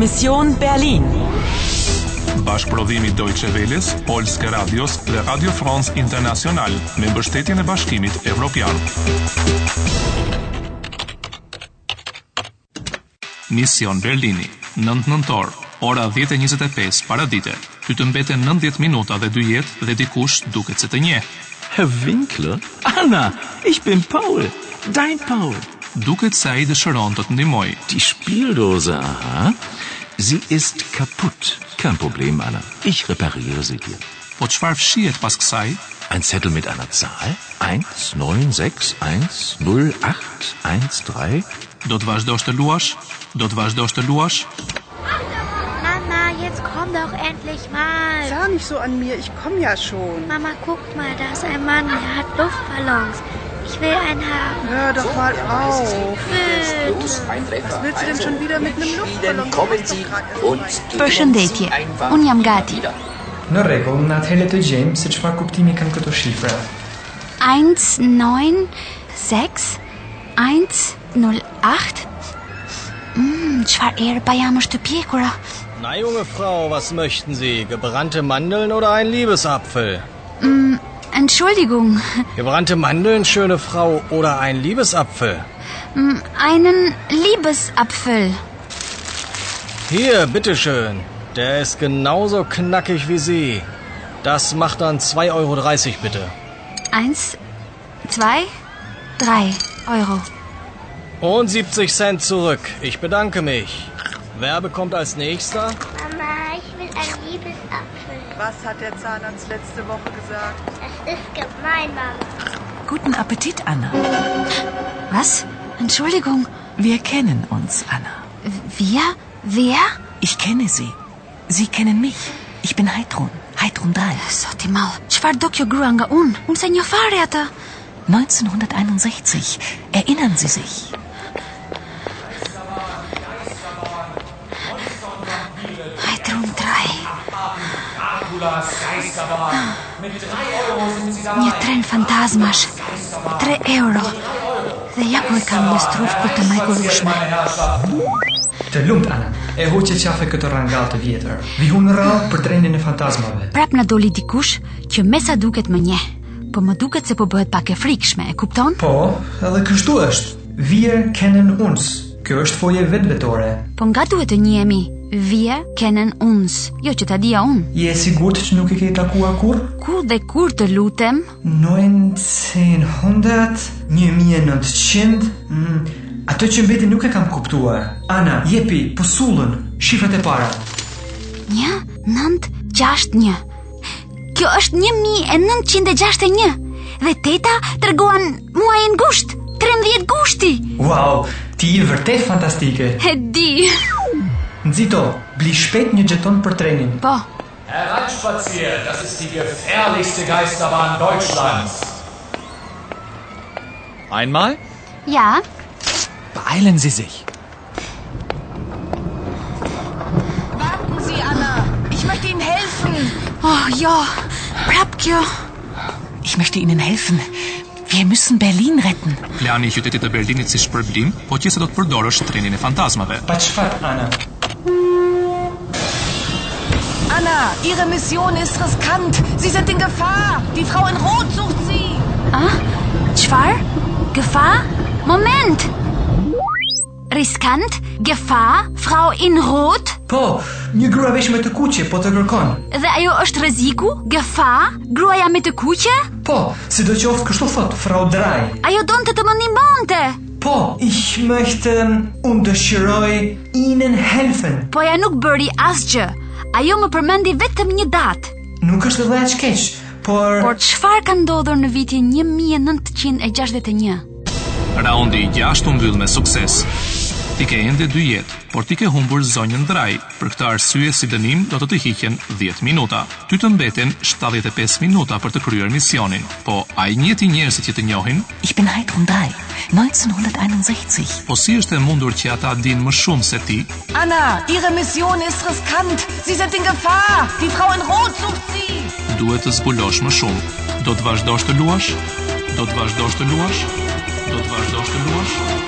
Mission Berlin. Bashkëprodhimi Deutsche Welles, Polske Radios dhe Radio France International me mbështetjen e Bashkimit Evropian. Mision Berlini, 9 nëntor, ora 10:25 paradite. Ty të mbeten 90 minuta dhe dy jetë dhe dikush duket se të njeh. Herr Winkler? Anna, ich bin Paul. Dein Paul. Duket se ai dëshiron të të ndihmoj. Die Spieldose, aha. Sie ist kaputt. Kein Problem, Anna. Ich repariere sie dir. Po çfarë fshihet pas kësaj? Ein Zettel mit einer Zahl? 1, 9, 6, 1, 0, 8, 1, 3. Do të vazhdosh të luash? Do të vazhdosh të luash? Mama, jetzt komm doch endlich mal. Sag nicht so an mir, ich komme ja schon. Mama, guck mal, da ist ein Mann, der hat Luftballons. Ich will einen haben. Hör doch mal auf. Bitte. Was willst du denn schon wieder mit einem Luftballon? Also, Kommen Sie und Përshëndetje, unë jam gati. Në rregull, në atëherë le të gjejmë se çfarë kuptimi kanë këto shifra. 1, 9, 6, 1, 0, 8. Mm, qfar erë pa jam është të pjekura. Na junge Frau, was möchten Sie? Gebrannte Mandeln oder ein Liebesapfel? Entschuldigung, Gebrannte Mandeln, schöne Frau, oder ein Liebesapfel? mm, einen Liebesapfel. Hier, bitteschön. Der ist genauso knackig wie Sie. Das macht dann 2,30 Euro bitte. 1, 2, 3 Euro. Und 70 Cent zurück. Ich bedanke mich. Wer bekommt als nächster? Mama, ich will einen Liebesapfel. Was hat der Zahnarzt letzte Woche gesagt? Das ist gemein, Mama. Guten Appetit, Anna. Was? Entschuldigung, Wir kennen uns, Anna. wir? Wer? Ich kenne Sie. Sie kennen mich. Ich bin Heidrun. Heidrun 3. Zoti mall, qfar do kjo grua nga unë? Unë se një fare atë. 1961. Erinnern Sie sich? Hajtë rrumë traj. Një tren fantazmash, 3 euro, dhe ja ku e kam një strufë për të majgurushme. Të lumt Ana, e huqe qafe këtë rangall të vjetër. Vihu në rradh për trenin e fantazmave. Prap në doli dikush që me sa duket më nje, po më duket se po bëhet pak e frikshme, e kupton? Po, edhe kështu është. Wir kennen uns. Kjo është foje vetvetore. Po nga duhet të njemi, vje kenen uns, jo që ta dia unë. Je e sigurt që nuk e ke takuar kurrë? Kur dhe kur të lutem, 900, 1900, mm, atë që mbeti nuk e kam kuptuar. Ana, jepi, pusullën, shifrat e para. një, nëndë, gjashtë një. Kjo është 1961, dhe teta tërgoan muajin gusht, 13 gushti. Wow, ti je vërtet fantastike. E di. Nxito, bli shpejt një xheton për trenin. Po, Hereinspaziert, das ist die gefährlichste Geisterbahn Deutschlands. Einmal? ja, Beeilen Sie sich. Warten Sie, Anna. Ich möchte Ihnen helfen. oh jo, prap kjo. Ich möchte Ihnen helfen. Wir müssen Berlin retten. Plani i qytetit të Berlinit si shpërblim, po qëse do të përdorësh trenin e fantazmave. Pa çfarë, Ana? Anna, Ihre Mission ist riskant. Sie sind in Gefahr. Die Frau in Rot sucht Sie. Ah, qfar? Gefa? Moment! Riskant, gefa, Frau in Rot, Po, një grua vesh me të kuqe po të kërkon. dhe ajo është rreziku, gefa, gruaja me të kuqe, Po, sidoqoftë kështu thot Frau Drei. ajo donte të më ndihmonte. Po, ich möchte unë dëshiroj Ihnen helfen. Po ja nuk bëri asgjë. Ajo më përmendi vetëm një datë. Nuk është edhe aq keq, por Por çfarë ka ndodhur në vitin 1961? Raundi i 6 u mbyll me sukses. Ti ke ende 2 jetë, por ti ke humbur zonjën draj. Për këtë arsye si dënim do të të hiqen 10 minuta. Ty të mbeten 75 minuta për të kryer misionin. Po a i njeti njerëzit që të njohin? Ich bin Heidrun 3, 1961. Po si është e mundur që ata dinë më shumë se ti? Anna, Ihre Mission ist riskant. Sie sind in Gefahr. Die Frau in Rot sucht Sie. Duhet të zbulosh më shumë. Do të vazhdosh të luash? Do të vazhdosh të luash? Do të vazhdosh të luash?